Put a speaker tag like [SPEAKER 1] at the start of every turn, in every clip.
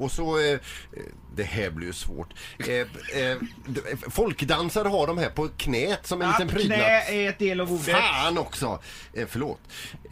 [SPEAKER 1] Och så, eh, eh, det här blir ju svårt. Eh, eh, d- folkdansare har de här på knät som en liten prydnad.
[SPEAKER 2] knä är ett del av ordet.
[SPEAKER 1] Fan också! Eh, förlåt.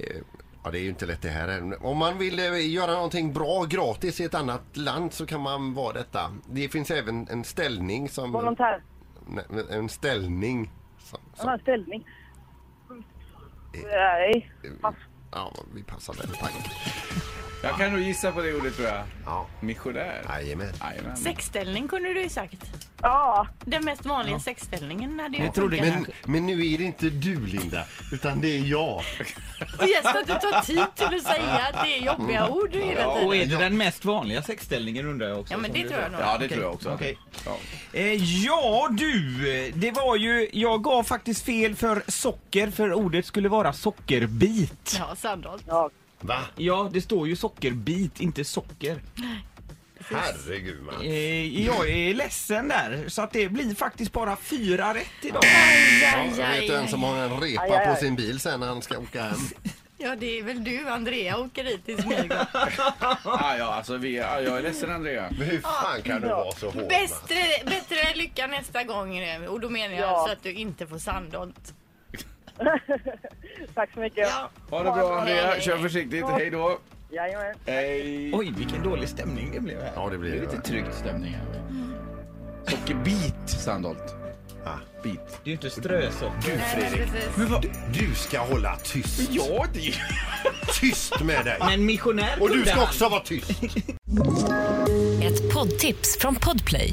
[SPEAKER 1] Eh, ja, det är ju inte lätt det här. än. Om man vill eh, göra någonting bra gratis i ett annat land så kan man vara detta. Det finns även en ställning som...
[SPEAKER 3] Volontär.
[SPEAKER 1] Nej, men en ställning. Som,
[SPEAKER 3] Den
[SPEAKER 1] som,
[SPEAKER 3] här ställning. Nej. Pass.
[SPEAKER 1] ja, vi passar den. Tack.
[SPEAKER 4] Jag kan nog gissa på det ordet tror jag.
[SPEAKER 1] Ja.
[SPEAKER 4] Missionär.
[SPEAKER 1] Jajamän.
[SPEAKER 4] Jajamän.
[SPEAKER 5] Sexställning kunde du ju sagt.
[SPEAKER 3] Ja.
[SPEAKER 5] Den mest vanliga sexställningen hade jag
[SPEAKER 2] Det trodde
[SPEAKER 5] funkat.
[SPEAKER 1] Men, men nu är det inte du Linda, utan det är jag.
[SPEAKER 5] Och just att du tar tid till att säga att det är jobbiga ord du hela
[SPEAKER 2] Och är
[SPEAKER 5] tiden.
[SPEAKER 2] det den mest vanliga sexställningen undrar jag också?
[SPEAKER 5] Ja, men
[SPEAKER 2] som
[SPEAKER 5] det
[SPEAKER 2] du
[SPEAKER 5] tror jag
[SPEAKER 2] sa?
[SPEAKER 5] nog.
[SPEAKER 4] Ja, det tror jag också.
[SPEAKER 2] Okej.
[SPEAKER 4] Ja.
[SPEAKER 2] Eh, ja du, eh, det var ju, jag gav faktiskt fel för socker för ordet skulle vara sockerbit.
[SPEAKER 5] Ja, Sandholt.
[SPEAKER 3] ja.
[SPEAKER 1] Va?
[SPEAKER 2] Ja, det står ju sockerbit, inte socker.
[SPEAKER 1] Herregud man.
[SPEAKER 2] Eh, jag är ledsen där, så att det blir faktiskt bara fyra rätt idag.
[SPEAKER 1] Ja,
[SPEAKER 5] Aj,
[SPEAKER 1] vet
[SPEAKER 5] aj,
[SPEAKER 1] du en
[SPEAKER 5] aj.
[SPEAKER 1] som har en
[SPEAKER 3] Aj,
[SPEAKER 1] repa
[SPEAKER 3] aj,
[SPEAKER 1] på
[SPEAKER 3] aj.
[SPEAKER 1] sin bil sen när han ska åka hem?
[SPEAKER 5] Ja, det är väl du, Andrea, åker dit i smyg.
[SPEAKER 4] Ah, ja, alltså, vi, ah, jag är ledsen Andrea.
[SPEAKER 1] Men hur fan kan du vara så hård? va?
[SPEAKER 5] Bättre, bättre lycka nästa gång. Remi. Och då menar jag
[SPEAKER 3] Ja.
[SPEAKER 5] alltså att du inte får Sandholt.
[SPEAKER 3] Tack så mycket.
[SPEAKER 5] Ja.
[SPEAKER 4] Ha det bra Andrea. Kör försiktigt. Hej då.
[SPEAKER 3] Jajamän.
[SPEAKER 4] Hej.
[SPEAKER 2] Oj, vilken dålig stämning det blev här.
[SPEAKER 1] Ja det blir
[SPEAKER 4] Det är
[SPEAKER 1] det.
[SPEAKER 4] lite
[SPEAKER 1] va?
[SPEAKER 4] tryckt stämning här. Sockerbit Sandholt.
[SPEAKER 1] Ah.
[SPEAKER 4] Bit.
[SPEAKER 2] Det är ju inte strösocker.
[SPEAKER 1] Du Fredrik,
[SPEAKER 5] Precis.
[SPEAKER 1] du ska hålla tyst.
[SPEAKER 4] Ja, det
[SPEAKER 1] Tyst med dig.
[SPEAKER 2] Men missionär
[SPEAKER 1] Och du
[SPEAKER 2] kunde
[SPEAKER 1] ska
[SPEAKER 2] han.
[SPEAKER 1] också vara tyst.
[SPEAKER 6] Ett poddtips från Podplay.